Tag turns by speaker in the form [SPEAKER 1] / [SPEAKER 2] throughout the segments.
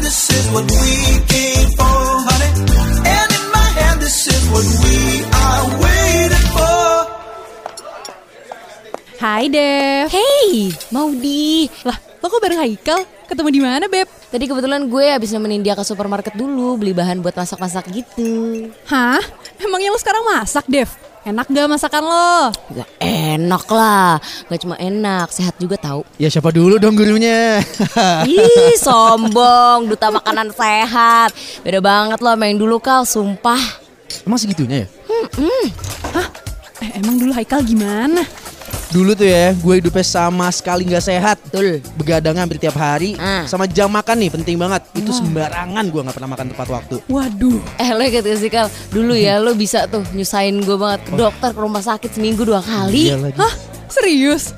[SPEAKER 1] this is what we came for, honey. And in my hand, this is what we are waiting for.
[SPEAKER 2] Hai Dev
[SPEAKER 3] Hey,
[SPEAKER 2] Maudi Lah, lo kok bareng Haikal? Ketemu di mana, Beb?
[SPEAKER 3] tadi kebetulan gue habis nemenin dia ke supermarket dulu beli bahan buat masak-masak gitu.
[SPEAKER 2] Hah? Emangnya lo sekarang masak, Dev? Enak gak masakan lo?
[SPEAKER 3] Gak enak lah, gak cuma enak, sehat juga tahu.
[SPEAKER 4] Ya siapa dulu dong gurunya?
[SPEAKER 3] Ih, sombong, duta makanan sehat. Beda banget loh main dulu kal, sumpah.
[SPEAKER 4] Emang segitunya ya?
[SPEAKER 2] Hah? Eh, emang dulu Haikal gimana?
[SPEAKER 4] Dulu tuh ya, gue hidupnya sama sekali nggak sehat.
[SPEAKER 3] Betul.
[SPEAKER 4] Begadang hampir tiap hari,
[SPEAKER 3] Ah.
[SPEAKER 4] sama jam makan nih penting banget. Itu sembarangan gue nggak pernah makan tepat waktu.
[SPEAKER 2] Waduh
[SPEAKER 3] Eh lo inget gak sih kal, dulu ya lo bisa tuh nyusahin gue banget ke dokter, ke rumah sakit seminggu dua kali.
[SPEAKER 4] Iya lagi.
[SPEAKER 2] Hah? Serius?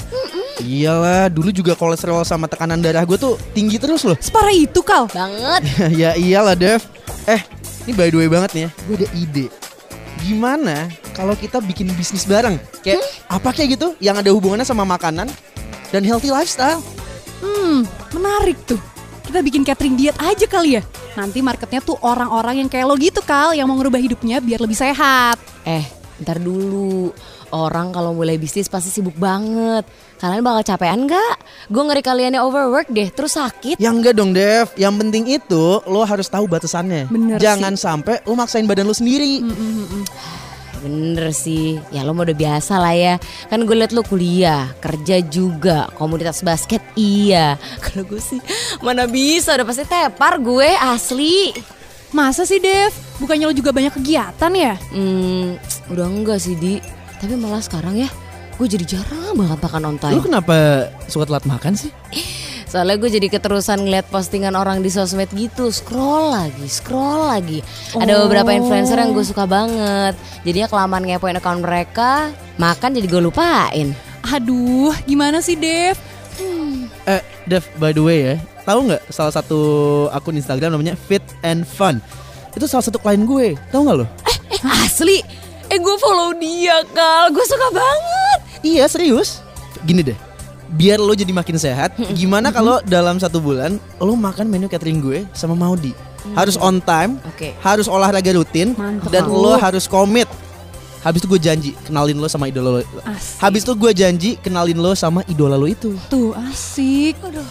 [SPEAKER 4] Iyalah, dulu juga kolesterol sama tekanan darah gue tuh tinggi terus loh.
[SPEAKER 2] Separah itu, Kal?
[SPEAKER 3] Banget.
[SPEAKER 4] ya iyalah Dev. Eh, ini by the way banget nih ya, gue ada ide. Gimana kalau kita bikin bisnis bareng? Kayak
[SPEAKER 3] Hmm?
[SPEAKER 4] apa kayak gitu yang ada hubungannya sama makanan dan healthy lifestyle?
[SPEAKER 2] Hmm, menarik tuh Kita bikin catering diet aja kali ya? Nanti marketnya tuh orang-orang yang kayak lo gitu, Kal Yang mau ngerubah hidupnya biar lebih sehat
[SPEAKER 3] Eh, ntar dulu. Orang kalau mulai bisnis pasti sibuk banget. Kalian bakal capean gak? Gue ngeri kaliannya overwork deh, terus sakit.
[SPEAKER 4] Ya enggak dong Dev, yang penting itu lo harus tahu batasannya.
[SPEAKER 2] Bener
[SPEAKER 4] Jangan sampai lo maksain badan lo sendiri.
[SPEAKER 3] Bener sih, ya lo mah udah biasa lah ya. Kan gue liat lo kuliah, kerja juga, komunitas basket iya. Kalau gue sih mana bisa, udah pasti tepar gue asli.
[SPEAKER 2] Masa sih, Dev? Bukannya lo juga banyak kegiatan ya?
[SPEAKER 3] Hmm, udah enggak sih Di. Tapi malah sekarang ya, gue jadi jarang banget makan on time.
[SPEAKER 4] kenapa suka telat makan sih?
[SPEAKER 3] Soalnya gue jadi keterusan ngeliat postingan orang di sosmed gitu Scroll lagi, scroll lagi Ada beberapa influencer yang gue suka banget Jadinya kelamaan ngepoin account mereka Makan jadi gue lupain
[SPEAKER 2] Aduh, gimana sih, Dev?
[SPEAKER 4] Eh, Dev, by the way ya, tahu nggak salah satu akun Instagram namanya Fit and Fun? Itu salah satu klien gue, tahu nggak lo?
[SPEAKER 3] Eh asli, eh gue follow dia Kal Gue suka banget
[SPEAKER 4] Iya serius. Gini deh, biar lo jadi makin sehat. Gimana kalau dalam satu bulan lo makan menu catering gue sama Maudi? Harus on time,
[SPEAKER 3] Oke.
[SPEAKER 4] harus olahraga rutin,
[SPEAKER 2] Mantep.
[SPEAKER 4] dan lo harus komit. Habis itu gue janji kenalin lo sama idola lo.
[SPEAKER 2] Asik.
[SPEAKER 4] Habis itu gue janji kenalin lo sama idola lo itu.
[SPEAKER 2] Tuh, asik Aduh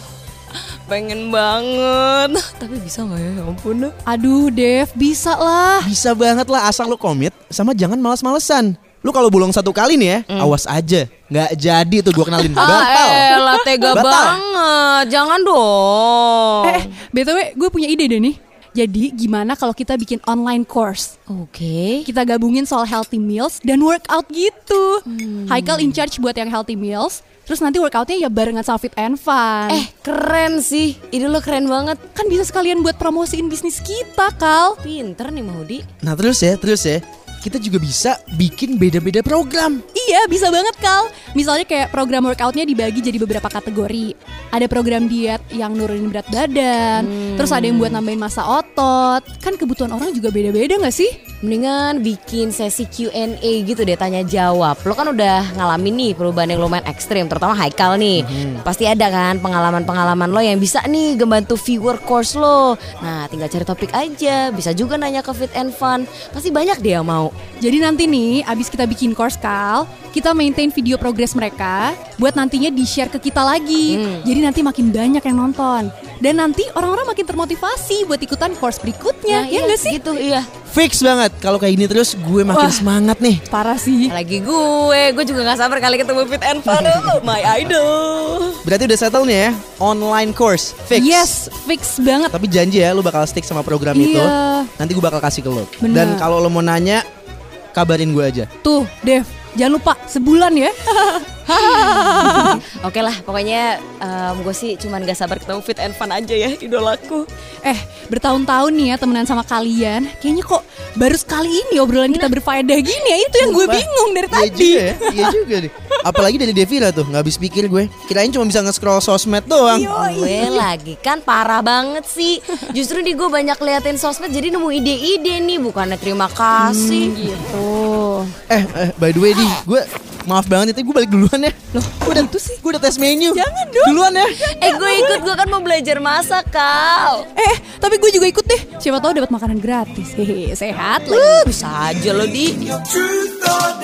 [SPEAKER 3] Pengen banget Tapi bisa gak ya, ya ampun
[SPEAKER 2] Aduh, Dev, bisa lah.
[SPEAKER 4] Bisa banget lah asal lo komit sama jangan malas-malesan. Lo kalau bolong satu kali nih ya,
[SPEAKER 2] Hmm.
[SPEAKER 4] awas aja. Nggak jadi tuh gue kenalin. Batal.
[SPEAKER 2] eh,
[SPEAKER 3] Ah elah tega
[SPEAKER 4] Batal. ya?
[SPEAKER 3] banget Jangan dong
[SPEAKER 2] Eh, BTW, gue punya ide deh nih. Jadi, gimana kalau kita bikin online course?
[SPEAKER 3] Oke
[SPEAKER 2] Kita gabungin soal healthy meals dan workout gitu. Haikal in charge buat yang healthy meals. Terus nanti workoutnya ya barengan sama fit and fun.
[SPEAKER 3] Eh keren sih, ide lo keren banget
[SPEAKER 2] kan bisa sekalian buat promosiin bisnis kita, Kal.
[SPEAKER 3] Pinter nih Mahudi
[SPEAKER 4] Nah terus ya, terus ya. Kita juga bisa bikin beda-beda program.
[SPEAKER 2] Iya, bisa banget, Kal. Misalnya kayak program workoutnya dibagi jadi beberapa kategori. Ada program diet yang nurunin berat badan. Terus ada yang buat nambahin massa otot. Kan kebutuhan orang juga beda-beda nggak sih?
[SPEAKER 3] Mendingan bikin sesi Q&A gitu deh tanya jawab. Lo kan udah ngalamin nih perubahan yang lumayan ekstrim, terutama Haikal nih.
[SPEAKER 2] Mm-hmm.
[SPEAKER 3] Pasti ada kan pengalaman-pengalaman lo yang bisa nih ngebantu viewer course lo. Nah, tinggal cari topik aja. Bisa juga nanya ke Fit and Fun. Pasti banyak deh yang mau.
[SPEAKER 2] Jadi nanti nih, abis kita bikin course Kal, kita maintain video progress mereka buat nantinya di-share ke kita lagi.
[SPEAKER 4] Hmm.
[SPEAKER 2] Jadi nanti makin banyak yang nonton. Dan nanti orang-orang makin termotivasi buat ikutan course berikutnya, ya
[SPEAKER 3] Nah, iya,
[SPEAKER 2] nggak sih?
[SPEAKER 3] Gitu, iya.
[SPEAKER 4] Fix banget kalau kayak gini terus gue makin
[SPEAKER 2] Wah.
[SPEAKER 4] semangat nih.
[SPEAKER 2] Parah sih.
[SPEAKER 3] Lagi gue, gue juga gak sabar kali ketemu Fit and Fun. Oh, my idol.
[SPEAKER 4] Berarti udah settle nih ya, online course fix.
[SPEAKER 2] Yes, fix banget.
[SPEAKER 4] Tapi janji ya lu bakal stick sama program
[SPEAKER 2] Iya.
[SPEAKER 4] itu. Nanti gue bakal kasih ke lu.
[SPEAKER 2] Bener.
[SPEAKER 4] Dan kalau lu mau nanya kabarin gue aja.
[SPEAKER 2] Tuh, Dev, jangan lupa sebulan ya.
[SPEAKER 3] Oke lah, pokoknya em, gue sih cuman gak sabar ketemu Fit and Fun aja ya, idolaku.
[SPEAKER 2] Eh, bertahun-tahun nih ya temenan sama kalian. Kayaknya kok baru sekali ini obrolan kita berfaedah gini ya. Itu yang gue
[SPEAKER 4] Nah. Sumpah.
[SPEAKER 2] bingung dari
[SPEAKER 4] Iya
[SPEAKER 2] tadi.
[SPEAKER 4] juga ya, iya juga nih. Apalagi dari Devira tuh, nggak habis pikir gue. Kirain cuma bisa nge-scroll sosmed doang.
[SPEAKER 2] Iya.
[SPEAKER 3] Gue lagi kan parah banget sih Justru di gue banyak liatin sosmed jadi nemu ide-ide nih Bukannya terima kasih gitu
[SPEAKER 2] Oh,
[SPEAKER 4] Eh, eh, by the way di, gue Maaf banget itu gue balik duluan ya. Loh, gue udah
[SPEAKER 2] gitu sih?
[SPEAKER 4] Gue udah tes menu.
[SPEAKER 2] Jangan dong.
[SPEAKER 4] Duluan ya.
[SPEAKER 3] Eh gue ikut, gue kan mau belajar masak kal
[SPEAKER 2] Eh, eh, tapi gue juga ikut deh. Siapa tahu dapat makanan gratis. Hehe, sehat lagi.
[SPEAKER 3] Uh, bisa aja loh di
[SPEAKER 1] Truth oh, or